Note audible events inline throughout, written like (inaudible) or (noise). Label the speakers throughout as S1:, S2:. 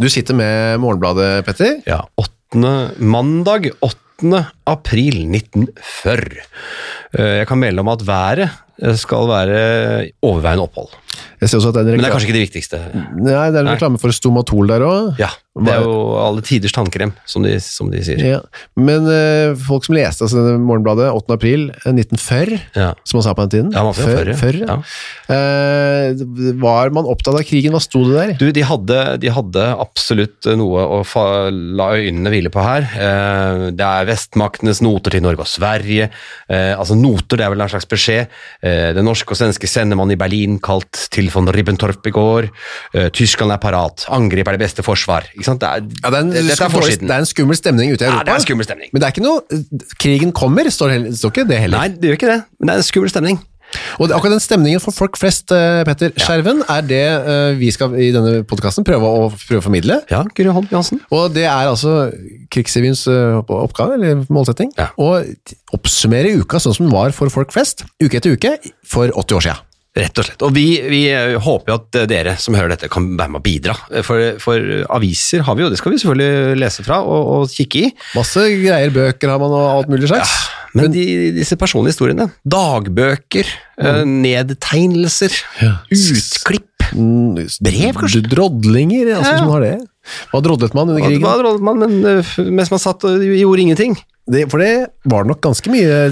S1: Du sitter med Morgenbladet, Petter.
S2: Ja, 8. mandag 8. april 1940. Eh, Jeg kan melde om at været eh, skal være overveiende opphold.
S1: Jeg ser også at det er en
S2: Men det er
S1: reklame,
S2: kanskje ikke det viktigste.
S1: Nei, det er en
S2: Nei.
S1: reklame for Stomatol der òg.
S2: Ja, Det er jo alle tiders tannkrem, som de, som de sier.
S1: Ja. Men eh, folk som leste altså, denne Morgenbladet 8. april eh, 1940,
S2: Ja.
S1: som man sa på den tiden,
S2: Ja, man sier
S1: før-
S2: 40,
S1: før, ja.
S2: ja.
S1: Eh, var man opptatt av krigen? Hva sto det der?
S2: Du, de hadde, de hadde absolutt noe å fa la øynene hvile på her. Eh, det er vestmaktenes noter til Norge og Sverige. Eh, altså Noter det er vel en slags beskjed. Eh, den norske og svenske sendemann i Berlin kalt til von Ribbentorp i går. Eh, Tyskland er parat. Angrep er det beste forsvar. Ikke sant? Det er,
S1: Ja, det, er en,
S2: det- dette er
S1: dårlig-
S2: forsiden.
S1: det er en skummel stemning ute i
S2: Ja,
S1: Europa.
S2: det er en skummel stemning.
S1: Men det er ikke noe Krigen kommer, står, heller, står ikke det heller.
S2: Nei, det gjør ikke det. Men det er en skummel stemning.
S1: Og det- akkurat den stemningen for folk flest, eh, Petter Skjerven, er det eh, vi skal i denne podkasten prøve, å- prøve å formidle.
S2: Ja, Guri Holm Johansen.
S1: Og det er altså krigsrevyens eh, opp- oppgave, eller målsetting,
S2: Ja.
S1: å t- oppsummere uka sånn som den var for folk flest, uke etter uke, for 80 år siden.
S2: Rett og slett. Og vi, vi eh, håper jo at eh, dere som hører dette, kan være med og bidra. Eh, For, for eh, aviser har vi jo, det skal vi selvfølgelig lese fra og, og kikke i.
S1: Masse greier, bøker har man og alt mulig slags.
S2: Men, de, disse personlige historiene, dagbøker, eh, nedtegnelser, utklipp
S1: Mm, Brev, kanskje? Drodlinger, altså,
S2: Ja.
S1: hvis man har det. Hva drodlet man under
S2: Hva
S1: krigen?
S2: hva rollet man, men eh, f- mens man satt og gjorde ingenting?
S1: Det, for det var nok ganske mye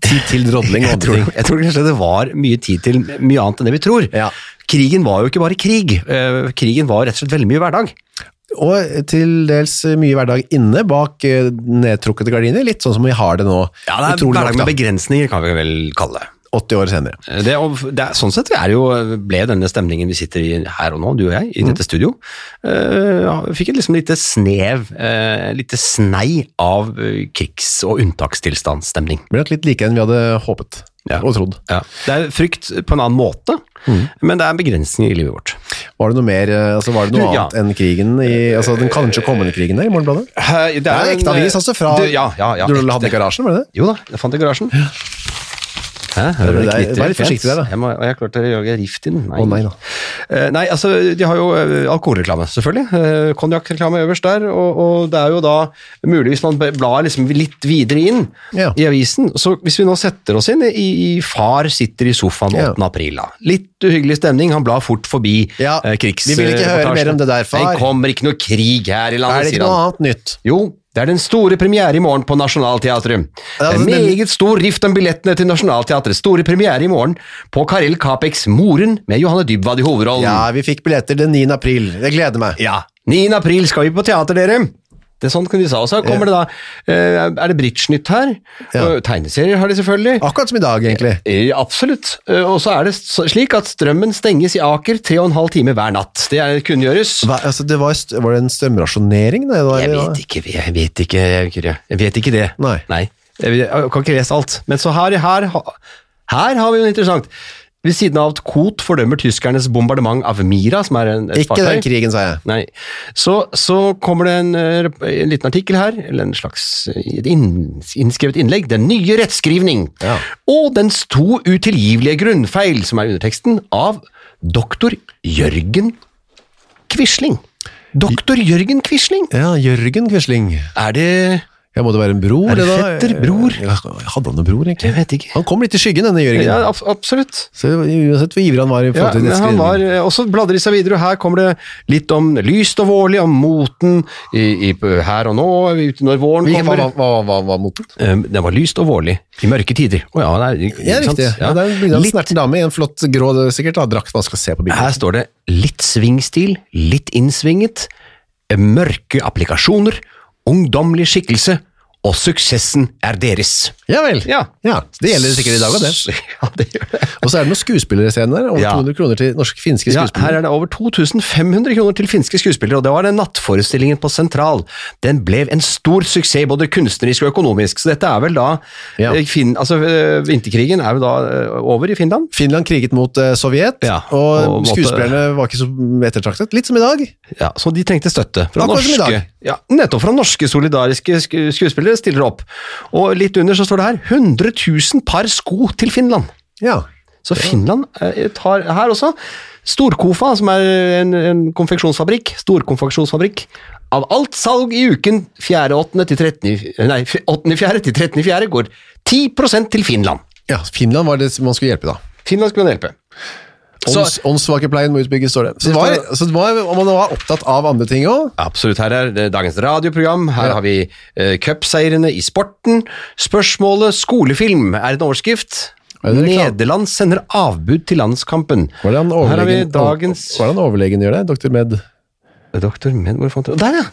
S1: tid til drodling og
S2: Jeg
S1: andre
S2: tror,
S1: ting.
S2: jeg tror kanskje det var mye tid til mye annet enn det vi tror.
S1: Ja.
S2: Krigen var jo ikke bare krig. Eh, Krigen var rett og slett veldig mye hverdag.
S1: Og til dels mye hverdag inne bak eh, nedtrukkede gardiner, litt sånn som vi har det nå.
S2: Ja, det er
S1: Utrolig nok,
S2: hverdag med
S1: da.
S2: begrensninger, kan vi vel kalle det.
S1: 80 år senere.
S2: Det, er- og det, er- sånn sett er jo, ble denne stemningen vi sitter i her og nå, du og jeg, i dette studio, eh, ja, fikk et liksom lite snev, eh, lite snei av eh, krigs- og unntakstilstandsstemning.
S1: Det ble nok litt likere enn vi hadde håpet
S2: Ja. Mm.
S1: og trodd.
S2: Det er frykt på en annen måte, men det er begrensninger i livet vårt.
S1: Var det noe mer, eh, altså var det noe
S2: Du, ja.
S1: annet enn krigen i, altså den kanskje kommende krigen der i Morgenbladet? Det
S2: Det eh,
S1: er en ekte avis altså fra
S2: du, ja, ja, ja,
S1: du
S2: ekte.
S1: hadde i garasjen, var det det?
S2: Jo da, jeg fant det i garasjen. Hæ, hører
S1: Det
S2: du
S1: er-
S2: knitter?
S1: vær litt forsiktig der, da.
S2: Jeg, må, og jeg klarte å gjøre rift i den. Nei.
S1: Å, nei da.
S2: Eh, nei, altså, de har jo eh, alkoholreklame, selvfølgelig. Eh, Konjakkreklame øverst der, og, og det er jo da mulig, hvis man blar liksom litt videre inn
S1: Ja.
S2: i avisen Så hvis vi nå setter oss inn i, i Far sitter i sofaen
S1: Ja.
S2: 8. april, da. Litt uhyggelig stemning, han blar fort forbi
S1: Ja,
S2: eh, krigs...
S1: vi vil ikke høre
S2: reportasjene.
S1: mer om det der, far.
S2: Det kommer ikke noe krig her i
S1: Er
S2: landet,
S1: det ikke
S2: sier han.
S1: noe annet nytt?
S2: Jo, det er den store premiere i morgen på Nationaltheatret.
S1: Ja, altså,
S2: En
S1: nemlig-
S2: meget stor rift om billettene til Nationaltheatret. Store premiere i morgen på Karel Capeks Moren med Johanne Dybwad i hovedrollen.
S1: Ja, vi fikk billetter den 9. april. Jeg gleder meg.
S2: Ja. 9. april skal vi på teater, dere. Det er sånn kunne de sa. Og så kommer det da eh, Er det Bridge-nytt her?
S1: Ja.
S2: Og Tegneserier har de selvfølgelig.
S1: Akkurat som i dag, egentlig.
S2: Eh, Absolutt. Eh, Og så er det s- slik at strømmen stenges i Aker tre og en halv time hver natt. Det er- kunngjøres.
S1: Hva, altså, det var, st- var det en strømrasjonering? Da,
S2: Jeg vet ikke, jeg vet ikke, jeg vet ikke, jeg vet ikke det.
S1: Nei.
S2: Jeg, vet- jeg kan ikke lese alt. Men så her, her, ha- her har vi noe interessant. Ved siden av at Koht fordømmer tyskernes bombardement av Mira, som er en, et
S1: Ikke
S2: fartøy.
S1: den krigen, sa jeg.
S2: Nei. Så, så kommer det en, eh, rep- en liten artikkel her, eller en slags eh, et inn, innskrevet innlegg. Den nye rettskrivning!
S1: Ja.
S2: Og dens to utilgivelige grunnfeil, som er underteksten, av doktor Jørgen Quisling. Doktor Jørgen Quisling!
S1: Ja, Jørgen Quisling.
S2: Er det
S1: Ja, må det være en bror?
S2: Er det
S1: eller da?
S2: fetter, bror?
S1: Ja, hadde han en bror, egentlig?
S2: (laughs) Jeg vet ikke.
S1: Han kom litt i skyggen, denne Jørgen.
S2: Ja, ab absolutt.
S1: Så uansett hvor ivrig han var i
S2: Ja,
S1: forhold til
S2: men han
S1: nettskrivning.
S2: var, eh, og så bladrer de seg videre, og her kommer det litt om lyst og vårlig, om moten i, i, her og nå, ut når våren
S1: Hvilken-
S2: kommer.
S1: hva, hva, hva, hva mot den?
S2: Eh, det var lyst og vårlig i mørke tider. Å ja, det er, ikke
S1: Ja,
S2: sant?
S1: riktig. Ja.
S2: Ja.
S1: det er en bilde av en
S2: Litt-
S1: snerten dame i en flott grå sikkert, da, drakt man skal se på bildet.
S2: Her står det litt svingstil, litt innsvinget, eh, mørke applikasjoner, ungdommelig skikkelse og suksessen er deres.
S1: Ja vel.
S2: Ja.
S1: Ja, så Det gjelder sikkert i dag òg, det.
S2: (laughs) Ja, det gjør det.
S1: Og så er det noen skuespillerscener der. Over
S2: Ja.
S1: 200 kroner til norske, finske
S2: Ja,
S1: skuespillere.
S2: her er det over 2500 kroner til finske skuespillere, og det var den nattforestillingen på Sentral. Den ble en stor suksess, både kunstnerisk og økonomisk, så dette er vel da
S1: Ja.
S2: eh, fin, altså, eh, Vinterkrigen er jo da eh, over i Finland.
S1: Finland kriget mot eh, Sovjet,
S2: Ja,
S1: og,
S2: og måtte-
S1: skuespillerne var ikke så ettertraktet. Litt som i dag.
S2: Ja, Så de trengte støtte fra
S1: Akkurat som i
S2: norske,
S1: dag.
S2: ja, nettopp fra norske solidariske sku skuespillere stiller opp. Og litt under så står det her 100 000 par sko til Finland.
S1: Ja.
S2: Så Finland eh, tar her også. Storkofa, som er en, en konfeksjonsfabrikk, storkonfeksjonsfabrikk, av alt salg i uken 4.8. til 13. Nei, 8.4. til 13.4. går 10 til Finland.
S1: ja, Finland var det som man skulle hjelpe, da.
S2: Finland skulle man hjelpe. Så-
S1: Ånds- Åndssvakepleien må utbygges, står det. Så, det
S2: Det
S1: var,
S2: står-
S1: så det var, og man var opptatt av andre ting òg.
S2: Absolutt. Her er det dagens radioprogram. Her har vi eh, cupseierne i sporten. Spørsmålet 'Skolefilm' er en overskrift.
S1: Er det reklame?
S2: Nederland sender avbud til landskampen.
S1: Var det han
S2: Her har vi
S1: overlegen,
S2: dagens
S1: Hva er det han overlegen gjør det? Dr. Med
S2: Doktor Med, hvor fant du Der, ja!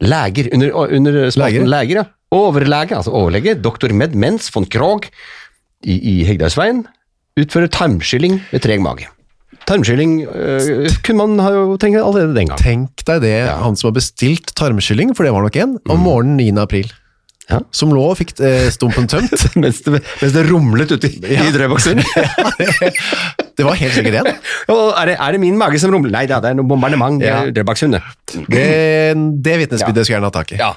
S2: Leger. Under, under
S1: Leger?
S2: spalten leger. ja. Overlege, altså overlege. Doktor Med Mens von Krogh i, i Hegdalsveien utfører tarmskylling ved treg mage. Tarmskylling eh, kunne man ha jo tenkt allerede den gang.
S1: Tenk deg det, han som har bestilt tarmskylling, for det var nok en, om morgenen 9. april.
S2: Mm. Ja.
S1: Som lå og fikk eh, stumpen tømt.
S2: (laughs) (laughs) Mens det, mens det rumlet ute i, i drøyboksen.
S1: Det var helt sikkert en.
S2: (laughs) Og er, det, er det min mage som rumler? Nei, det er- det er noe bombardement. Det
S1: Ja.
S2: er Drøbaksundet.
S1: Det, det vitnesbyrdet skulle jeg gjerne hatt tak i.
S2: Ja.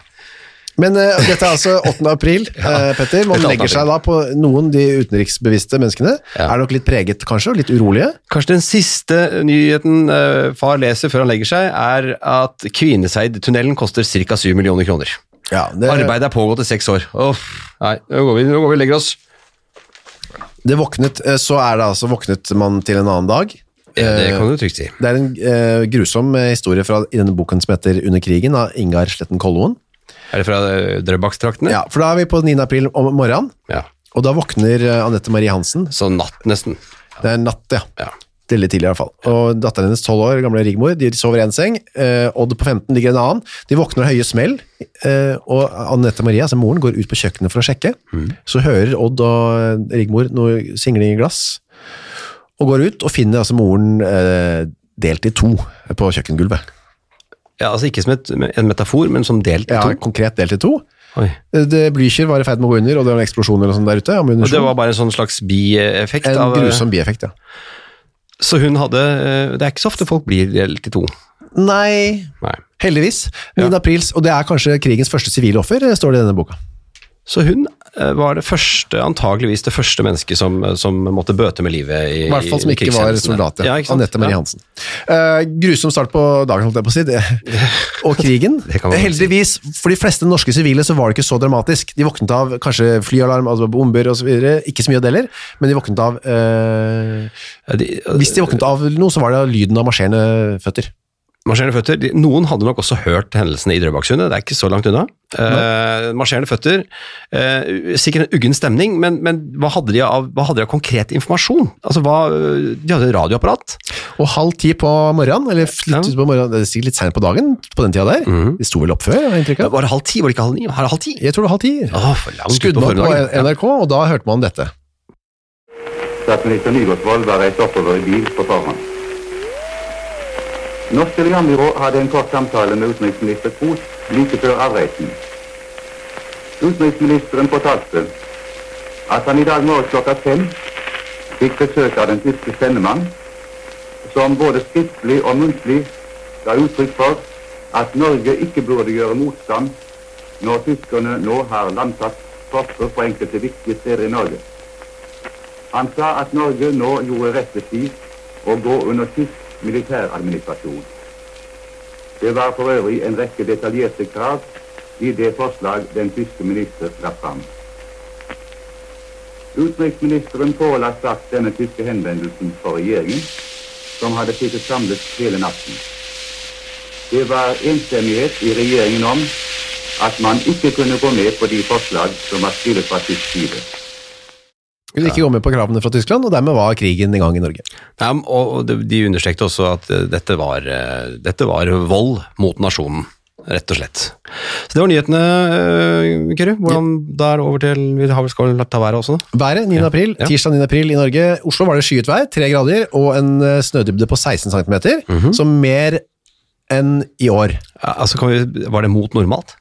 S1: Men eh, dette er altså 8. april,
S2: (laughs)
S1: eh, Petter. Man
S2: Dette er 8.
S1: legger seg da på noen de utenriksbevisste menneskene.
S2: Ja.
S1: Er nok litt preget, kanskje, og litt urolige.
S2: Kanskje den siste nyheten eh, far leser før han legger seg, er at Kvineseidtunnelen koster ca. 7 millioner kroner.
S1: Ja, det,
S2: Arbeidet er pågått i seks år. Uff, nei, nå går vi nå går vi og legger oss.
S1: det våknet, eh, så er det altså våknet man til en annen dag.
S2: Ja, det
S1: Eh,
S2: kan du trygt si.
S1: Det er en eh, grusom eh, historie fra, i denne boken som heter Under krigen av Ingar Sletten Kolloen.
S2: Er det fra eh, Drøbakstraktene?
S1: Ja, for da er vi på 9. april om morgenen,
S2: Ja.
S1: og da våkner eh, Anette Marie Hansen.
S2: Så natt, nesten.
S1: Det er natt, ja.
S2: Ja.
S1: Veldig tidlig i hvert fall. Og datteren hennes, 12 år, gamle Rigmor, de sover i en seng. Eh, Odd på 15 ligger i en annen. De våkner av høye smell, eh, og Anette Maria, altså moren, går ut på kjøkkenet for å sjekke.
S2: Mm.
S1: Så hører Odd og eh, Rigmor noe singling i glass, og går ut og finner altså moren eh, delt i to på kjøkkengulvet.
S2: ja, altså ikke som et, en metafor, men som delt i
S1: Ja,
S2: to.
S1: konkret delt i to.
S2: Oi.
S1: Eh, Det Blücher var i ferd med å gå under, og det var en eksplosjon eller noe sånt der ute. av
S2: Og det
S1: ammunisjon.
S2: var bare en sånn slags bieffekt.
S1: En
S2: av- eh,
S1: grusom bieffekt, ja.
S2: Så hun hadde eh, Det er ikke så ofte folk blir delt i to.
S1: Nei,
S2: Nei.
S1: heldigvis. 9. aprils, og det er kanskje krigens første sivile offer, eh, står det i denne boka.
S2: Så hun eh, var det første, antageligvis det første mennesket som, eh, som måtte bøte med livet i
S1: I hvert fall som ikke var
S2: krigshendelsene.
S1: soldat. Ja.
S2: Ja, ikke sant?
S1: Anette Marie
S2: Ja.
S1: Hansen. Eh, grusom start på dagen, holdt jeg på å si.
S2: (laughs)
S1: Det. Og krigen.
S2: Det kan man vel si.
S1: Heldigvis, for de fleste norske sivile så var det ikke så dramatisk. De våknet av kanskje flyalarm, altså bomber osv. Ikke så mye av det heller, men de våknet av eh,
S2: Ja, de-
S1: Hvis de våknet av noe, så var det av lyden av marsjerende føtter.
S2: Marsjerende føtter, de- Noen hadde nok også hørt hendelsene i Drøbaksundet, det er ikke så langt unna. Eh, marsjerende føtter, eh, sikkert en uggen stemning, men, men hva, hadde de av, hva hadde de av konkret informasjon? Altså, hva, eh, De hadde radioapparat.
S1: Og halv ti på morgenen, eller
S2: Ja.
S1: litt ut på morgenen, det er sikkert litt sent på dagen på den tida der. De sto vel opp før, har jeg inntrykk av.
S2: Var det halv ti? Var det ikke halv ni? Var det halv ti?
S1: Jeg tror det var halv ti.
S2: Åh, for langt ut på
S1: Skuddmann på
S2: formiddagen.
S1: NRK, og da hørte man dette.
S3: Statsminister Nygaardsvold var reist oppover i bil på forhånd. Norsk telegrambyrå hadde en kort samtale med utenriksminister Krohs like før avreisen. Utenriksministeren fortalte at han i dag morges klokka fem fikk besøk av den tyske sendemann, som både skriftlig og muntlig ga uttrykk for at Norge ikke burde gjøre motstand når tyskerne nå har landsatt tropper på enkelte viktige steder i Norge. Han sa at Norge nå gjorde rett ved tid å gå under tysk militæradministrasjon. Det var for øvrig en rekke detaljerte krav i det forslag den tyske minister la fram. Utenriksministeren påla straks denne tyske henvendelsen for regjeringen, som hadde sittet samlet hele natten. Det var enstemmighet i regjeringen om at man ikke kunne gå med på de forslag som var stilt fra tysk side.
S1: Kunne ikke gå med på kravene fra Tyskland, og dermed var krigen i gang i Norge.
S2: Ja, og og de de understrekte også at eh, dette var, eh, dette var vold mot nasjonen. rett og slett. Så det var nyhetene, eh, Kyrre. Hvordan da er det over til Vi har vel skal ta været også, da?
S1: Været 9. april,
S2: Ja.
S1: tirsdag 9. april i Norge. Oslo var det skyet vær, 3 grader, og en eh, snødybde på 16 cm,
S2: Mhm.
S1: så mer enn i år.
S2: Ja, Altså, kan vi, var det mot normalt?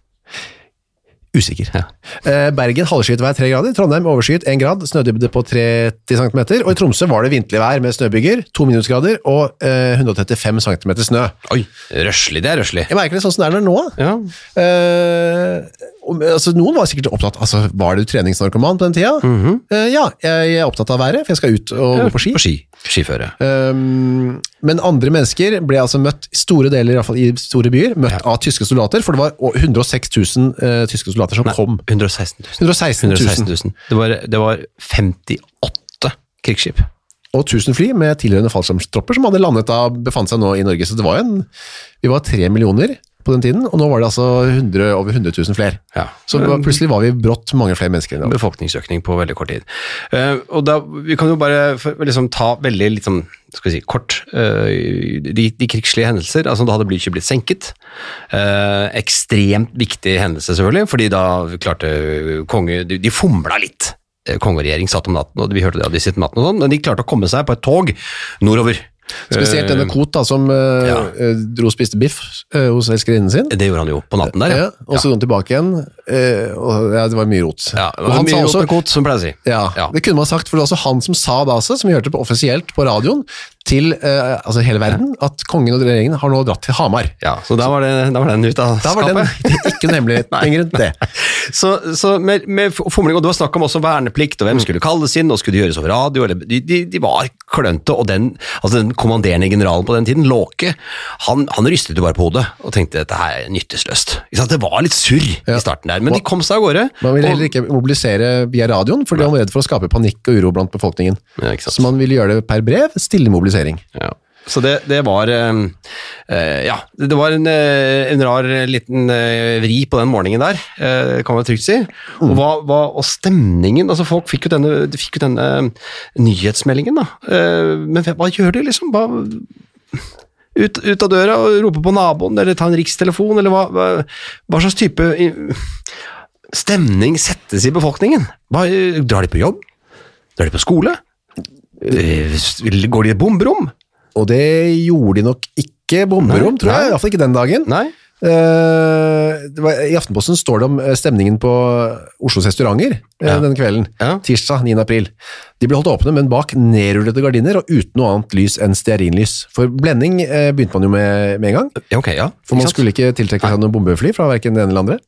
S1: Usikker.
S2: Ja.
S1: Eh, Bergen halvskyet vær 3 grader, Trondheim overskyet 1 grad, snødybde på 30 cm, og i Tromsø var det vintlig vær med snøbyger, 2 minusgrader og eh, 135 cm snø.
S2: Oi, røslig. Det er røslig.
S1: Jeg merker det sånn som det er nå.
S2: Ja.
S1: Eh, om- altså, noen var sikkert opptatt altså, Var du treningsnarkoman på den tida? Eh, ja, jeg er opptatt av været, for jeg skal ut og gå på ski.
S2: På ski. Skiføre.
S1: Um, men andre mennesker ble altså møtt i store deler, i, hvert fall i store byer, møtt av tyske soldater, for det var å- 106 000 eh, tyske soldater som kom.
S2: 116 000.
S1: 116
S2: 116
S1: 000,
S2: 000. Det var, det var 58 krigsskip.
S1: og 1000 fly med tilhørende fallskjermstropper som hadde landet da, befant seg nå i Norge, så det var jo en, vi var tre millioner på den tiden, og nå var det altså 100, over 100 000 flere.
S2: Ja.
S1: Så det var, plutselig var vi brått mange flere mennesker. enn det.
S2: Befolkningsøkning på veldig kort tid. Eh, og da, Vi kan jo bare for, liksom, ta veldig litt sånn, skal vi si, kort eh, de, de krigslige hendelser. altså Da hadde Blücher blitt senket. Eh, ekstremt viktig hendelse, selvfølgelig, fordi da klarte eh, konge De, de fomla litt. Eh, Konge og regjering satt om natten, og vi hørte det, og de sitter om natten og sånn, men de klarte å komme seg på et tog nordover.
S1: Spesielt denne Kot da, som eh, eh, dro og spiste biff eh, hos elskerinnen sin.
S2: Det gjorde han jo på natten der,
S1: Ja, og så dro han tilbake igjen, eh, og ja, det var mye rot.
S2: Ja,
S1: og han sa også,
S2: Kot, som pleier å si.
S1: ja,
S2: Ja.
S1: det kunne man sagt, for det var også han som sa det altså, som vi hørte på offisielt på radioen, til eh, altså hele verden, at kongen og regjeringen har nå dratt til Hamar.
S2: Ja, så da var, det, da var den ut av
S1: Da var den
S2: skapet.
S1: (laughs) ikke noe hemmelighet lenger rundt det.
S2: Så, så med, med fomling, og det var snakk om også verneplikt,
S1: Mm.
S2: og hvem skulle kalles inn, og skulle det gjøres over radio, eller De, de, de var klønete, og den, altså den kommanderende generalen på den tiden, Låke, han, han rystet jo bare på hodet og tenkte dette her er nyttesløst. Ikke sant? Det var litt surr i starten der, men de kom seg av gårde.
S1: Man ville heller
S2: og,
S1: ikke mobilisere via radioen, fordi man var redd for å skape panikk og uro blant befolkningen.
S2: Ja, ikke sant.
S1: Så man ville gjøre det per brev, stille mobilisering.
S2: ja. Så det, det var eh, eh, Ja, det var en, eh, en rar liten eh, vri på den morgenen der, eh, kan man trygt si. Og, hva, hva, og stemningen altså Folk fikk jo denne, de fikk jo denne eh, nyhetsmeldingen, da. Eh, men hva gjør de, liksom? Hva, ut, ut av døra og rope på naboen, eller ta en rikstelefon, eller hva, hva, hva slags type i- stemning settes i befolkningen? Hva, drar de på jobb? Drar de på skole? Eh, Går de i et bomberom?
S1: Og det gjorde de nok ikke bomberom,
S2: Nei,
S1: tror jeg,
S2: nei.
S1: i hvert fall ikke den dagen.
S2: Nei?
S1: Eh, det var, I Aftenposten står det om eh, stemningen på Oslos restauranter eh,
S2: Ja.
S1: denne kvelden,
S2: Ja.
S1: tirsdag 9. april. De ble holdt åpne, men bak nedrullede gardiner og uten noe annet lys enn stearinlys. For blending eh, begynte man jo med med en gang,
S2: Ja, ok, ja.
S1: for
S2: Ikke
S1: man
S2: sant?
S1: skulle ikke tiltrekke seg noen bombefly fra hverken det ene eller andre.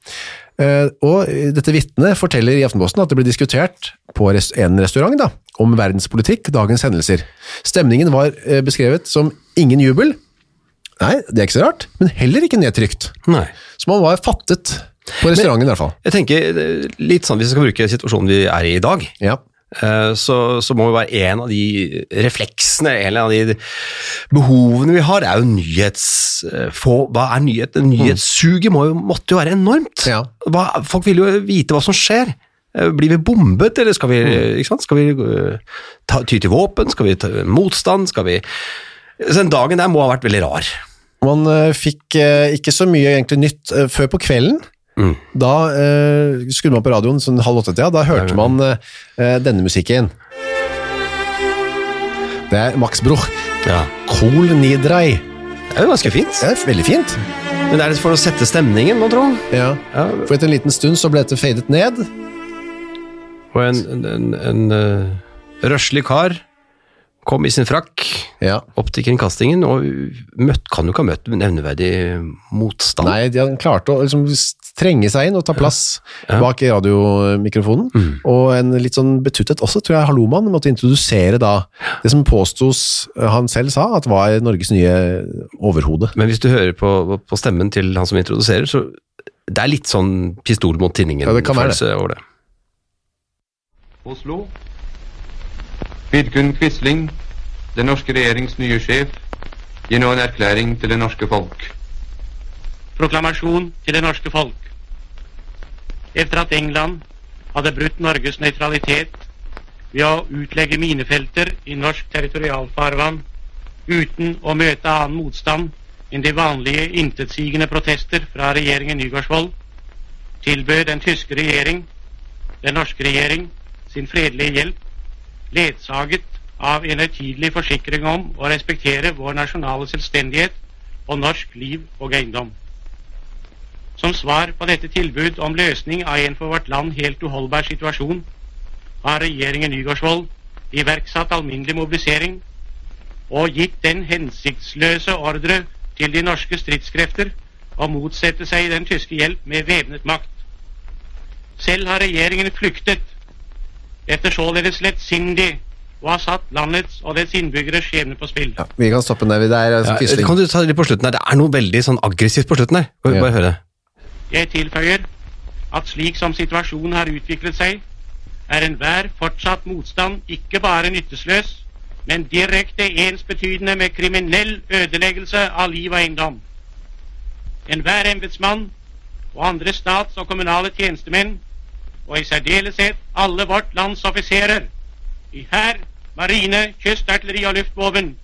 S1: Eh, og eh, dette vittnet forteller i Aftenposten at det ble diskutert på res- en restaurant da, om verdenspolitikk, dagens hendelser. Stemningen var eh, beskrevet som ingen jubel, Nei, det er ikke så rart, men heller ikke nedtrykt.
S2: Nei.
S1: Så man var fattet på restauranten i hvert fall.
S2: Jeg tenker eh, litt sånn, Hvis vi skal bruke situasjonen vi er i i dag,
S1: Ja.
S2: eh, så, så må jo være en av de refleksene, en av de behovene vi har, er jo nyhets... eh, Få, hva er nyhet? Nyhetssuget må jo, måtte jo være enormt.
S1: Mm. Ja.
S2: Hva, folk vil jo vite hva som skjer. Eh, Blir vi bombet, eller skal vi,
S1: Mm.
S2: ikke sant? Skal vi eh, ta, ty til våpen? Skal vi ta motstand? Skal vi Så Den dagen der må ha vært veldig rar.
S1: Man eh, fikk eh, ikke så mye egentlig nytt eh, før på kvelden.
S2: Mm.
S1: Da eh, skrudde man på radioen sånn halv åtte-tida, da hørte man eh, eh, denne musikken. Det er Max Bruch.
S2: Ja.
S1: Kol Nidrei.
S2: Det er jo ganske fint.
S1: Det er veldig fint.
S2: Men det er litt for å sette stemningen, må tro.
S1: Ja.
S2: Ja,
S1: For etter en liten stund så ble dette fadet ned.
S2: og en, en, en, en eh, røslig kar kom i sin frakk
S1: Ja.
S2: opp til kringkastingen, og møtt, kan jo ikke ha møtt nevneverdig motstand.
S1: Nei, de han klarte å liksom trenge seg inn og ta plass bak i radiomikrofonen. Og en litt sånn betuttet også, tror jeg, Halloman måtte introdusere da det som påstos eh, han selv sa, at var Norges nye overhode.
S2: Men hvis du hører på, på stemmen til han som introduserer, så det er litt sånn pistol mot tinningen
S1: Ja, det kan være det.
S2: følelse over det.
S4: Oslo. Vidkun Quisling, den norske regjerings nye sjef, gir nå en erklæring til det norske folk.
S5: Proklamasjon til det norske folk. Etter at England hadde brutt Norges nøytralitet ved å utlegge minefelter i norsk territorialfarvann uten å møte annen motstand enn de vanlige intetsigende protester fra regjeringen Nygaardsvold, tilbød den tyske regjering, den norske regjering, sin fredelige hjelp, ledsaget av en høytidelig forsikring om å respektere vår nasjonale selvstendighet og norsk liv og eiendom. Som svar på dette tilbud om løsning av en for vårt land helt uholdbar situasjon, har regjeringen Nygaardsvold iverksatt alminnelig mobilisering og gitt den hensiktsløse ordre til de norske stridskrefter å motsette seg den tyske hjelp med væpnet makt. Selv har regjeringen flyktet etter således lettsindig å ha satt landets og dets innbyggeres skjebne på spill.
S1: Ja, vi kan stoppe den der. Det er altså
S2: Ja,
S1: Quisling.
S2: kan du ta det litt på slutten her? Det er noe veldig sånn aggressivt på slutten her. Bare,
S1: Ja.
S2: bare høre.
S5: Jeg tilføyer at slik som situasjonen har utviklet seg, er enhver fortsatt motstand ikke bare nyttesløs, men direkte ensbetydende med kriminell ødeleggelse av liv og eiendom. Enhver embetsmann og andre stats- og kommunale tjenestemenn, og i særdeleshet alle vårt lands offiserer, i hær, marine, kystartilleri og luftvåpen,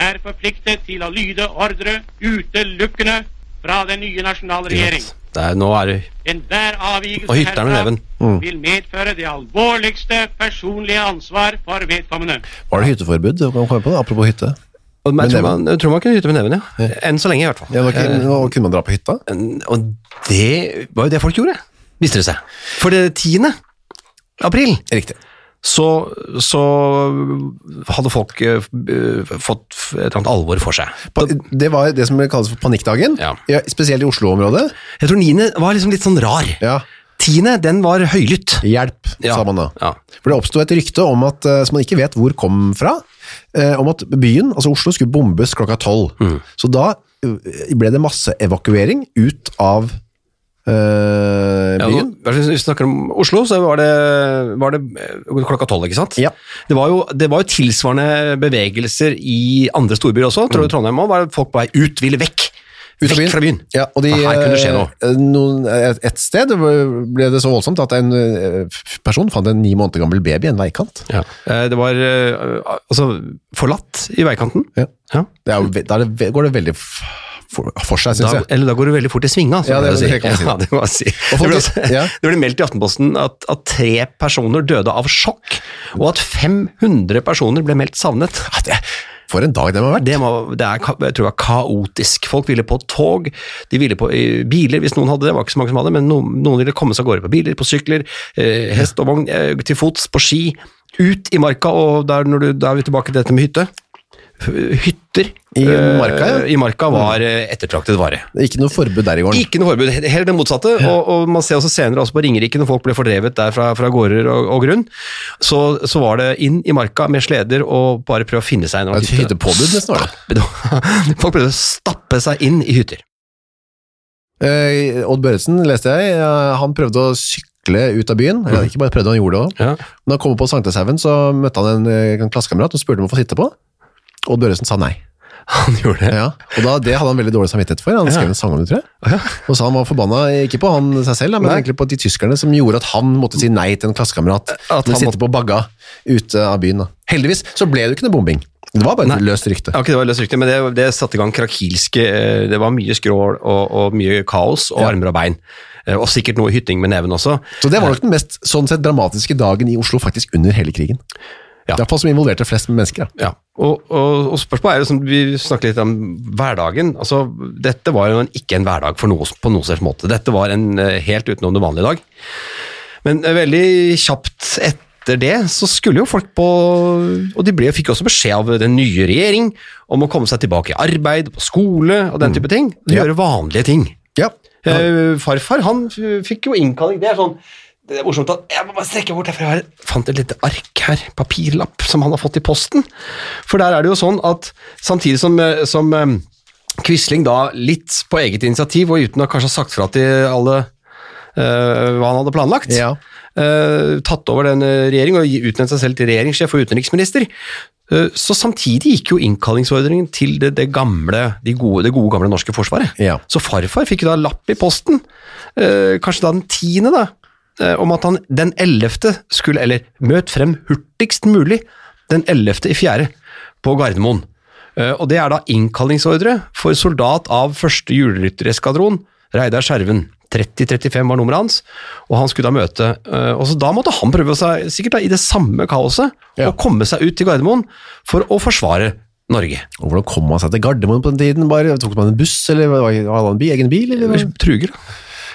S5: er forpliktet til å lyde ordre utelukkende fra den nye nasjonale regjering.
S2: Det er, nå er det
S5: Enhver avvikelse
S2: Og hytter med
S5: herfra
S2: neven.
S5: vil medføre det alvorligste personlige ansvar for vedkommende.
S1: Var det hytteforbud? Kan man komme på det? Apropos hytte.
S2: og men
S1: Med
S2: jeg, tror
S1: neven.
S2: man, jeg tror man kunne gyte med neven, ja. Enn så lenge, i hvert fall.
S1: Ja, det var ikke,
S2: Eh,
S1: nå kunne man dra på hytta?
S2: og det var jo det folk gjorde, viste det seg. For det 10. april
S1: Riktig.
S2: så, så hadde folk eh, f- fått f- et eller annet alvor for seg.
S1: Pa- Det var det som kalles for panikkdagen,
S2: Ja.
S1: spesielt i Oslo-området.
S2: Jeg tror 9. var liksom litt sånn rar.
S1: Ja.
S2: 10. den var høylytt.
S1: Hjelp,
S2: Ja,
S1: sa man da.
S2: ja.
S1: For det oppstod et rykte om at, eh, som man ikke vet hvor kom fra, eh, om at byen, altså Oslo, skulle bombes klokka tolv.
S2: Mm.
S1: Så da eh, ble det masseevakuering ut av eh,
S2: Ja,
S1: byen.
S2: nå- Hvis vi snakker om Oslo, så var det, var det eh, klokka tolv, ikke sant?
S1: Ja.
S2: Det, var jo, det var jo tilsvarende bevegelser i andre storbyer også.
S1: Mm.
S2: Tror du Trondheim òg? Folk på vei ut, ville vekk.
S1: Ut av
S2: vekk fra byen.
S1: Ja, og de,
S2: For her kunne det skje noe.
S1: eh, Noen, et, et sted ble det så voldsomt at en eh, f- person fant en ni måneder gammel baby i en veikant.
S2: Eh, Det var eh, altså forlatt i veikanten.
S1: Ja.
S2: Ja.
S1: Det er, jo ve- da er det, ve- går det veldig f- for, for seg,
S2: Da,
S1: synes jeg.
S2: eller da går du veldig fort i svinga,
S1: Ja,
S2: som
S1: det-
S2: jeg sier.
S1: det kan man si.
S2: Ja, det må jeg si.
S1: Og
S2: Det
S1: folk-
S2: ble, også,
S1: ja.
S2: (laughs) det ble meldt i Aftenposten at, at tre personer døde av sjokk, og at 500 personer ble meldt savnet. Ja, det,
S1: For en dag det må ha vært.
S2: Det, må, det er, ka- jeg tror det var kaotisk. Folk ville på tog, de ville på eh, biler hvis noen hadde det, det var ikke så mange som hadde det, men noen, noen ville komme seg av gårde på biler, på sykler, eh, hest og vogn, eh, til fots, på ski, ut i marka, og der, når du, da er vi tilbake til dette med hytte. F- Hytter
S1: I
S2: eh,
S1: marka, ja. Mm.
S2: i marka var eh, ettertraktet vare.
S1: Det er Ikke noe forbud der i gården.
S2: Ikke noe forbud, he- helt det motsatte. Og, og man ser også senere også på Ringerike, når folk ble fordrevet der fra, fra gårder og, og grunn, så, så var det inn i marka med sleder og bare prøve å finne seg en eller
S1: Det er et hyttepåbud nesten, var det.
S2: Stappe- Folk prøvde å stappe seg inn i hytter.
S1: Eh, Odd Børresen leste jeg, eh, han prøvde å sykle ut av byen,
S2: Mm.
S1: eller ikke bare prøvde, han gjorde det også. Men da han kom opp på Sankthanshaugen, så møtte han en, eh, en klassekammerat og spurte om å få sitte på. Odd Børresen sa nei.
S2: Han gjorde det.
S1: Ja. Og da, det hadde han veldig dårlig samvittighet for, han skrev en sang om det, tror jeg. Og så han var forbanna, ikke på han seg selv, da, men
S2: Nei.
S1: egentlig på de tyskerne som gjorde at han måtte si nei til en klassekamerat.
S2: han
S1: Men sitte
S2: måtte-
S1: på bagga ute av byen da. Heldigvis så ble det jo ikke noe bombing. Det var bare
S2: Nei.
S1: et løst rykte.
S2: Ja, ok, det var løst riktig, men det, det satte i gang krakilske eh, Det var mye skrål og, og mye kaos og
S1: Ja.
S2: armer og bein. Eh, Og sikkert noe hytting med neven også.
S1: Så det var nok den mest sånn sett, dramatiske dagen i Oslo faktisk under hele krigen.
S2: Ja.
S1: Det er på som involverte flest mennesker. Da.
S2: Ja, og, og, og spørsmålet er jo som vi snakket litt om hverdagen. Altså, dette var jo en, ikke en hverdag for noe, på noen slags måte. Dette var en eh, helt utenom det vanlige dag. Men eh, veldig kjapt etter det så skulle jo folk på Og de ble, fikk også beskjed av den nye regjering om å komme seg tilbake i arbeid, på skole og den type ting.
S1: Ja.
S2: Gjøre vanlige ting.
S1: Ja.
S2: Eh, farfar han f- fikk jo innkalling. Det er sånn det er morsomt at Jeg må bare strekke bort herfra. Jeg fant et lite ark her, papirlapp, som han har fått i posten. For der er det jo sånn at samtidig som, eh, som eh, Quisling da litt på eget initiativ og uten å kanskje ha sagt fra til alle eh, hva han hadde planlagt,
S1: Ja.
S2: eh, tatt over den eh, regjering og gi- utnevnt seg selv til regjeringssjef og utenriksminister. Eh, Så samtidig gikk jo innkallingsordringen til det, det gamle, de gode, det gode gamle norske forsvaret.
S1: Ja.
S2: Så farfar fikk jo da lapp i posten, eh, kanskje da den tiende da, eh, om at han den ellevte skulle, eller møt frem hurtigst mulig, den ellevte i fjerde på Gardermoen. Eh, Og det er da innkallingsordre for soldat av første juleryttereskadron, Reidar Skjerven. 30-35 var nummeret hans, og han skulle da møte. eh, Og så da måtte han prøve seg, sikkert da i det samme kaoset,
S1: Ja.
S2: å komme seg ut til Gardermoen for å forsvare Norge.
S1: Og hvordan kom man seg til Gardermoen på den tiden? Bare, tok man en buss, eller var- hadde han bi- egen bil? Eller?
S2: Truger, da.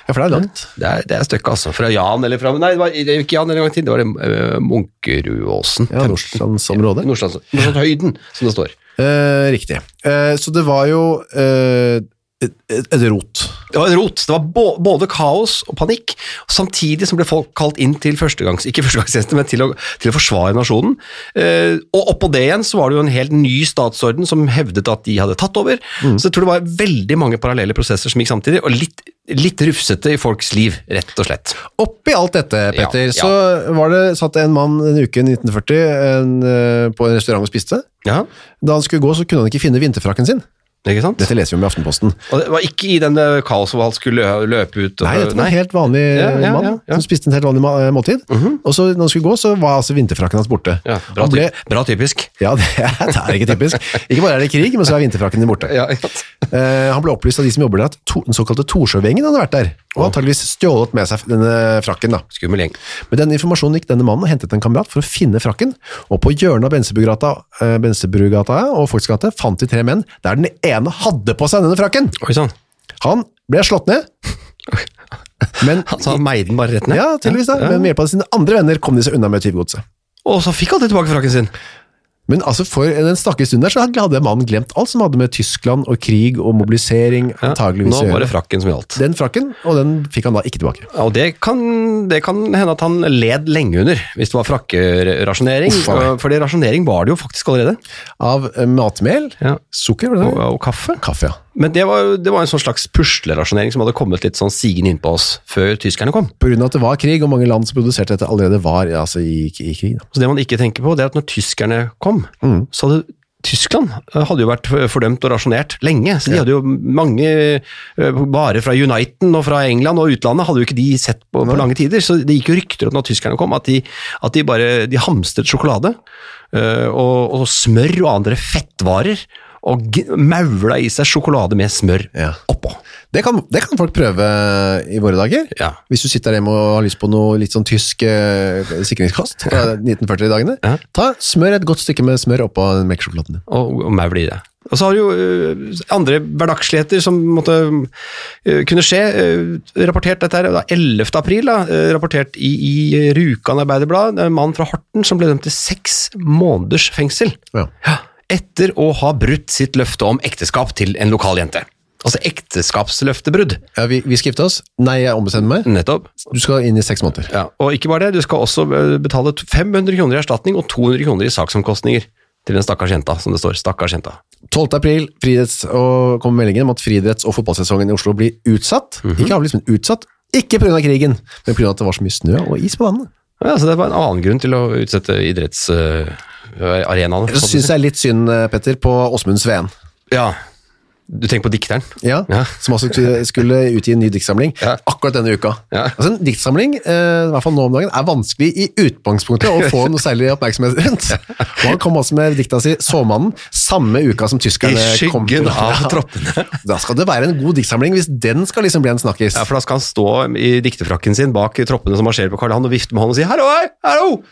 S1: Ja, for det er langt.
S2: Det er, det er stykket, altså. Fra Jan eller fra Nei, det var det var ikke Jan en gang til. Det var det eh, Munkerudåsen.
S1: Ja, Nordlandsområdet.
S2: Nordstrands- Nordstrandshøyden, som det står.
S1: Eh, riktig. Eh, så det var jo eh, et, et et rot.
S2: Det var rot. Det var bå både kaos og panikk, samtidig som ble folk kalt inn til førstegangs, ikke førstegangstjeneste, men til å, til å forsvare nasjonen. Eh, og oppå det igjen så var det jo en helt ny statsorden som hevdet at de hadde tatt over. Så jeg tror det var veldig mange parallelle prosesser som gikk samtidig, og litt, litt rufsete i folks liv, rett og slett.
S1: Oppi alt dette,
S2: Ja,
S1: Petter,
S2: ja.
S1: så var det, satt en mann en uke i 1940 en, eh, på en restaurant og spiste.
S2: Ja,
S1: Da han skulle gå, så kunne han ikke finne vinterfrakken sin.
S2: ikke sant?
S1: Dette leser vi om i Aftenposten.
S2: Og det var ikke i den eh, kaoset hvor han skulle lø- løpe ut. og-
S1: Nei, dette var Eh, en helt vanlig
S2: Ja, ja, ja,
S1: mann
S2: ja. Mhm.
S1: som spiste en helt vanlig ma- eh, måltid. Og så når han skulle gå, så var altså vinterfrakken hans borte.
S2: Ja, bra,
S1: han ble,
S2: typ, bra typisk.
S1: ja det, (laughs) er, det er ikke typisk. Ikke bare er det krig, men så er vinterfrakken din borte.
S2: Ja, ikke sant?
S1: Eh, han ble opplyst av de som jobber der, at to, den såkalte Torsjøvengen hadde vært der, og antageligvis stjålet med seg denne frakken. da.
S2: Skummel gjeng.
S1: Med den informasjonen gikk denne mannen og hentet en kamerat for å finne frakken, og på hjørnet av Bensebrugata, eh, Bensebrugata og Folksgate fant de tre menn der den ene hadde på seg denne frakken.
S2: Oi sånn. sann.
S1: Han ble slått
S2: (laughs)
S1: ned, men
S2: Han sa meiden bare rett ned.
S1: Ja, tydeligvis da. Men med hjelp av sine andre venner kom de seg unna med tyvgodset.
S2: Og så fikk han det tilbake frakken sin.
S1: Men altså, for den stakke stunden der, så hadde mannen glemt alt som hadde med Tyskland og krig og mobilisering
S2: Ja,
S1: antageligvis
S2: Nå
S1: å
S2: var
S1: gjøre.
S2: det frakken som gjaldt.
S1: Den frakken, og den fikk han da ikke tilbake.
S2: Ja, og det kan, det kan hende at han led lenge under, hvis det var frakkerasjonering.
S1: Uff, faen.
S2: For rasjonering var det jo faktisk allerede.
S1: Av eh, matmel,
S2: Ja.
S1: sukker, var det
S2: Og,
S1: det?
S2: og kaffe.
S1: Kaffe, ja.
S2: Men det var, jo- det var en sånn slags puslerasjonering som hadde kommet litt sånn sigende innpå oss før tyskerne kom.
S1: På grunn av at det var krig, og mange land som produserte dette allerede var ja, altså, i, i krig. Da.
S2: Så det man ikke tenker på, det er at når tyskerne kom, så hadde Tyskland eh, hadde jo vært fordømt og rasjonert lenge, så de hadde jo mange eh, varer fra Uniten og fra England og utlandet hadde jo ikke de sett på, på lange tider, så det gikk jo rykter om når tyskerne kom at de, at de bare de hamstret sjokolade eh, og, og smør og andre fettvarer og g- maula i seg sjokolade med smør
S1: Ja.
S2: oppå.
S1: Det, kan, det kan folk prøve eh, i våre dager.
S2: Ja.
S1: Hvis du sitter der hjemme og har lyst på noe litt sånn tysk eh, sikringskost fra 1940-dagene,
S2: Ja.
S1: ta smør et godt stykke med smør oppå den melkesjokoladen din.
S2: og, og maul i det. Og så har du jo ø, andre hverdagsligheter som måtte ø, kunne skje. ø, rapportert dette her, da, 11. april, da, ø, rapportert i, i Rjukan Arbeiderblad. Det er En mann fra Horten som ble dømt til seks måneders fengsel.
S1: Ja.
S2: Etter å ha brutt sitt løfte om ekteskap til en lokal jente. Altså ekteskapsløftebrudd,
S1: Ja, vi, vi skifter oss. Nei, jeg ombestemmer meg.
S2: nettopp.
S1: Du skal inn i seks måneder.
S2: Ja. Og ikke bare det, du skal også ø, betale 500 kroner i erstatning og 200 kroner i saksomkostninger til den stakkars jenta, som det står. Stakkars jenta.
S1: 12. april friidretts- og kom meldingen om at friidretts- og fotballsesongen i Oslo blir utsatt. Ikke avlyst, men utsatt. Ikke pga. krigen, men pga. at det var så mye snø og is på vannet.
S2: Ja, så det var en annen grunn til å utsette eh, idrettsarenaene.
S1: Jeg syns jeg er litt synd, eh, Petter, på Åsmund Sveen.
S2: ja. Sånn- Du tenker på dikteren?
S1: Ja,
S2: Ja.
S1: Som altså skulle- skulle utgi en ny diktsamling
S2: Ja.
S1: akkurat denne uka.
S2: Ja.
S1: Altså En diktsamling eh, i hvert fall nå om dagen, er vanskelig i utgangspunktet å få noe særlig oppmerksomhet rundt. Og Han kom altså med dikta si 'Såmannen' samme uka som tyskerne
S2: I
S1: kom
S2: skyggen av troppene.
S1: Da skal det være en god diktsamling hvis den skal liksom bli en snakkis.
S2: Ja, for da skal han stå i dikterfrakken sin bak troppene som marsjerer på Karl Johan og vifte med hånden og si 'hallo, hei, hallo,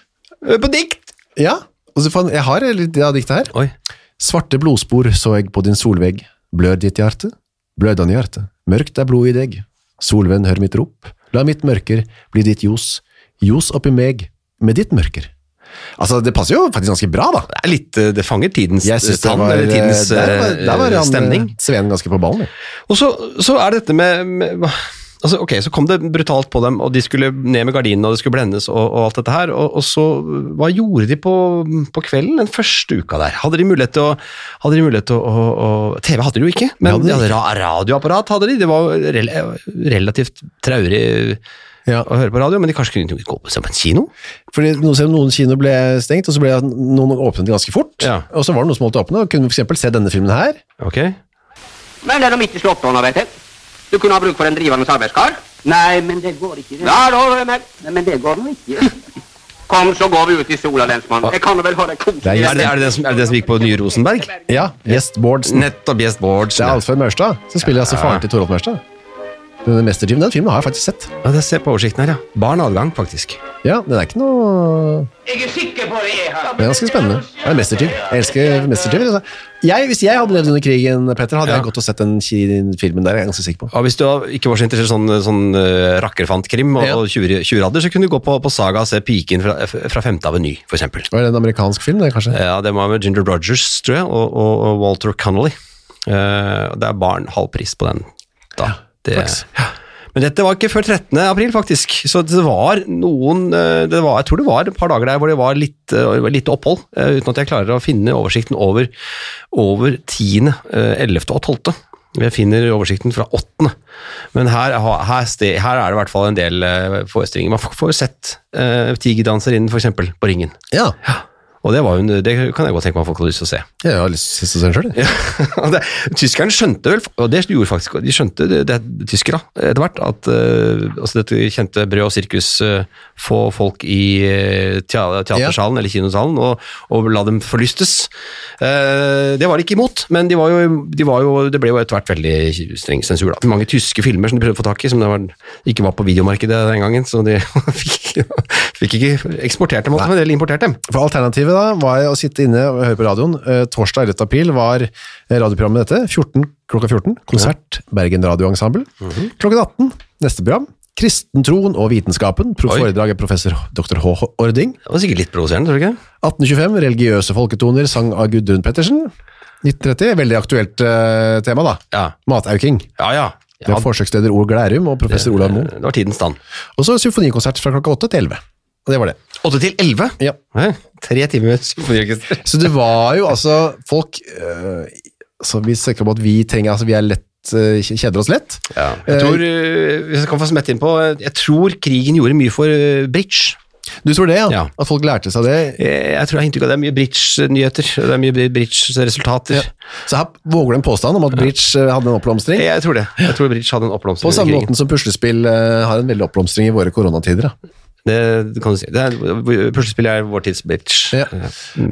S2: hør på dikt'!
S1: Ja, og så faen, jeg har litt av diktet her.
S2: Oi.
S1: Svarte blodspor så jeg på din solvegg. Blør ditt hjerte? Blødende hjerte. Mørkt er blod i deg. Solvenn, hør mitt rop. La mitt mørker bli ditt ljos. Ljos oppi meg med ditt mørker. Altså, det passer jo faktisk ganske bra, da.
S2: Det er litt eh, Det fanger tidens
S1: Jeg
S2: eh,
S1: synes det
S2: tann,
S1: var,
S2: eller tidens
S1: der var,
S2: eh,
S1: der var han,
S2: stemning.
S1: eh, Sveen ganske på ballen. jo.
S2: Og så, så er dette med, med hva- altså, Ok, så kom det brutalt på dem, og de skulle ned med gardinene, og det skulle blendes og, og alt dette her. Og, og så, hva gjorde de på, på kvelden den første uka der? Hadde de mulighet til å, hadde de mulighet til å, å, å TV hadde de jo ikke, men
S1: Hadde de
S2: de hadde ra radioapparat hadde de. Det var rel relativt traurig
S1: Ja.
S2: å høre på radio, men de kanskje kunne gå på se på en kino?
S1: Fordi noen, selv om noen kino ble stengt, og så ble noen åpnet ganske fort.
S2: Ja.
S1: Og så var det noen som holdt åpne, og kunne for eksempel se denne filmen her.
S2: Ok.
S6: Men det er nå midt i slåttåna, vet jeg. Du kunne ha bruk for en drivende arbeidskar. Nei, men det går ikke. Ja, da, men, men det går nå ikke. (laughs) Kom, så går vi ut i sola, lensmann. Jeg kan vel ha det
S1: Det er
S6: koselig.
S1: gjest-
S2: Er det, er, det den som, er det den som gikk på nye Rosenberg?
S1: Ja, Gjest Bårdsen.
S2: Nettopp Gjest Bårdsen.
S1: Det er
S2: ja. altså.
S1: Alfred Mørstad, som spiller altså faren til Torolf Mørstad. Denne mestertimen, den filmen har jeg faktisk sett.
S2: Ja, det ser på oversikten her, ja. Barn adgang, faktisk.
S1: Ja, den er ikke noe...
S6: Jeg er sikker på det er her.
S1: Det er ganske spennende. Det er en mestertid. Jeg elsker mestertid. Altså. Jeg, hvis jeg hadde levd under krigen, Petter, hadde
S2: Ja.
S1: jeg gått og sett den ki- filmen der, jeg er ganske sikker på.
S2: Og hvis du ikke var så interessert i sånn, sånn eh, rakkerfantkrim og,
S1: Ja.
S2: og tjuveri- tjuvradder, så kunne du gå på, på Saga og se Piken fra, fra Femte Aveny, for eksempel.
S1: Var det en amerikansk film, det, kanskje?
S2: Ja, det var med Ginger Rogers, tror jeg, og, og, og Walter Connolly. Eh, det er barn halv pris på den. Da. det,
S1: flaks.
S2: ja. Men dette var ikke før 13. april, faktisk. Så det var noen eh, det var, Jeg tror det var et par dager der hvor det var litt, eh, det var litt opphold, eh, uten at jeg klarer å finne oversikten over, over 10., eh, 11. og 12. Jeg finner oversikten fra 8. Men her, ha- her, ste- her er det i hvert fall en del eh, forestillinger. Man får- får sett uh, Tigerdanserinnen, f.eks., på Ringen.
S1: Ja.
S2: Og det, var jo, en- det kan jeg godt tenke meg at folk hadde lyst til å se. (laughs)
S1: Jeg har lyst til å se den selv. jeg.
S2: Og det, tyskerne skjønte vel, og det gjorde faktisk, de skjønte det, det tyskere etter hvert, at eh, altså dette kjente brød og sirkus eh, få folk i eh, tea- teatersalen eller kinosalen og, og la dem forlystes. Eh, det var de ikke imot, men de var jo, de var jo, det ble jo etter hvert veldig streng sensur. Da. Mange tyske filmer som de prøvde å få tak i, som det var, ikke var på videomarkedet den gangen, så de (laughs) fikk, fikk ikke eksportert dem, men en del importert dem.
S1: For alternativet da, var å sitte inne og høre på radioen. Eh, torsdag 11. april var eh, radioprogrammet dette, 14, klokka 14, konsert, Bergen Radioensemble.
S2: Mhm.
S1: Klokken 18, neste program, Kristentroen og vitenskapen, pro-
S2: Oi.
S1: foredrag av professor Dr. H. H. Ording.
S2: Det var sikkert litt provoserende, tror du ikke?
S1: 1825, religiøse folketoner, sang av Gudrun Pettersen. 1930, veldig aktuelt eh, tema da.
S2: Ja.
S1: Matauking.
S2: Ja, ja.
S1: Det var forsøksleder Ole Glærum og professor Olav Moe.
S2: Det var tidens stand.
S1: Og så symfonikonsert fra klokka 8 til 11. Og det var det.
S2: 8 til 11?
S1: Ja.
S2: Hæ? Tre timer med symfoniorkester.
S1: Så det var jo altså folk øh, så Vi snakker om at vi trenger altså vi er lett øh, kjeder oss lett.
S2: Jeg tror, eh, hvis jeg kan få smette inn på, eh, jeg tror krigen gjorde mye for eh, bridge.
S1: Du tror det, ja?
S2: Ja.
S1: At folk lærte seg det?
S2: Eh, Jeg tror jeg har inntrykk av at det er mye bridge-nyheter, det er mye bridge-resultater.
S1: Så her våger du en påstand om at bridge øh, hadde en oppblomstring?
S2: Eh, Jeg tror det. Jeg tror bridge hadde en oppblomstring
S1: På samme
S2: under krigen.
S1: måten som puslespill øh, har en veldig oppblomstring i våre koronatider. Da.
S2: Det kan du si. Det er, puslespill er vår tids bridge.
S1: Ja.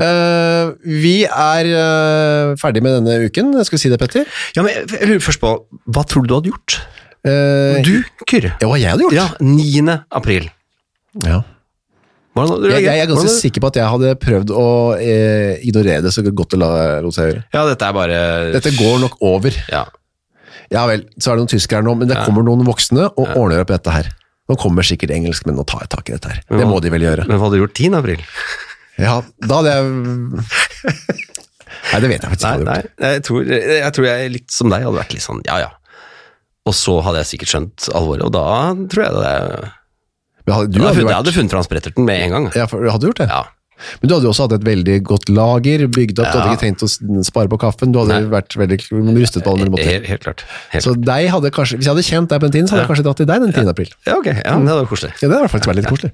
S1: Eh, vi er øh, ferdig med denne uken, skal vi si det, Petter?
S2: Ja, men jeg lurer først på, hva tror du du hadde gjort?
S1: Eh,
S2: Du, Kyrre.
S1: Ja, hva jeg hadde gjort?
S2: Ja, 9. april.
S1: Ja.
S2: Hvordan hadde du
S1: Jeg, jeg er
S2: reagert?
S1: ganske
S2: Hvordan-
S1: sikker på at jeg hadde prøvd å eh, ignorere det så godt det la- lot seg gjøre.
S2: Ja, dette er bare...
S1: Dette går nok over.
S2: Ja.
S1: Ja vel, så er det noen tyskere her nå, men det kommer noen voksne og ordner opp i dette her. Nå kommer sikkert engelskmenn og tar tak i dette her. Det må de vel gjøre.
S2: Men hva hadde du gjort 10. april?
S1: Ja, da hadde jeg Nei, det vet jeg faktisk
S2: Nei,
S1: ikke.
S2: nei jeg, tror, jeg tror jeg litt som deg hadde vært litt sånn, ja, ja. Og så hadde jeg sikkert skjønt alvoret, og da tror jeg det
S1: Men hadde, du hadde,
S2: Du hadde funnet, Jeg
S1: vært,
S2: hadde funnet fram spretterten med en gang.
S1: ja, for, hadde du gjort det?
S2: Ja.
S1: Men du hadde jo også hatt et veldig godt lager bygd opp. Du hadde
S2: Ja.
S1: ikke trengt å s- spare på kaffen. Du hadde vært veldig rustet på alle mulige måter.
S2: Helt, helt klart. Helt.
S1: Så deg hadde kanskje, Hvis jeg hadde kjent deg på den tiden, så hadde jeg kanskje dratt til deg den 10. april.
S2: ja, ok. Ja, men det hadde vært koselig.
S1: Ja, Det hadde faktisk vært litt
S2: (laughs)
S1: koselig.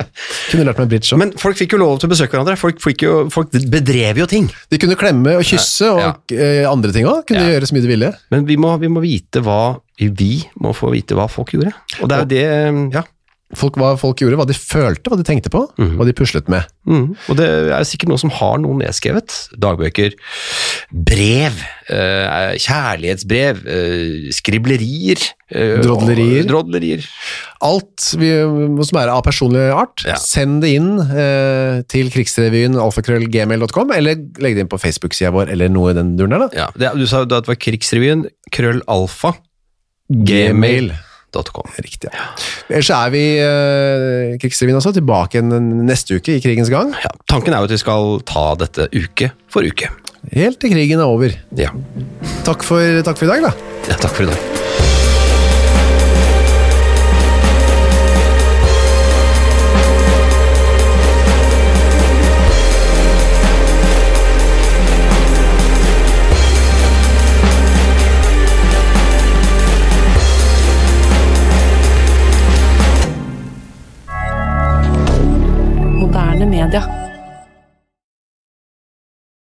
S1: Kunne lært meg bridge òg.
S2: Men folk fikk jo lov til å besøke hverandre. Folk, fikk jo, folk bedrev jo ting.
S1: De kunne klemme og kysse og eh, andre ting òg. Kunne
S2: Ja.
S1: gjøre så mye de ville.
S2: Men vi må, vi må vite hva Vi må få vite hva folk gjorde. Og det er jo det Ja.
S1: folk, hva folk gjorde, hva de følte, hva de tenkte på, hva de puslet med.
S2: Mm. Og det er sikkert noen som har noe nedskrevet. Dagbøker, brev, eh, kjærlighetsbrev, eh, skriblerier. eh,
S1: Drodlerier.
S2: og- Drodlerier.
S1: Alt vi, som er av personlig art,
S2: Ja.
S1: send det inn eh, til krigsrevyen alfakrøllgmail.com, eller legg det inn på Facebook-sida vår, eller noe i den duren der, da.
S2: Ja, det, du sa jo da at det var Krigsrevyen, krøllalfa,
S1: Gmail.
S2: gmail.com.
S1: Riktig, ja. Ellers er vi, eh, krigsrevyen også, tilbake igjen neste uke i krigens gang.
S2: Ja, tanken er jo at vi skal ta dette uke for uke.
S1: Helt til krigen er over.
S2: Ja,
S1: Takk for, takk for i dag, da.
S2: ja takk for i dag.
S7: Moderne media.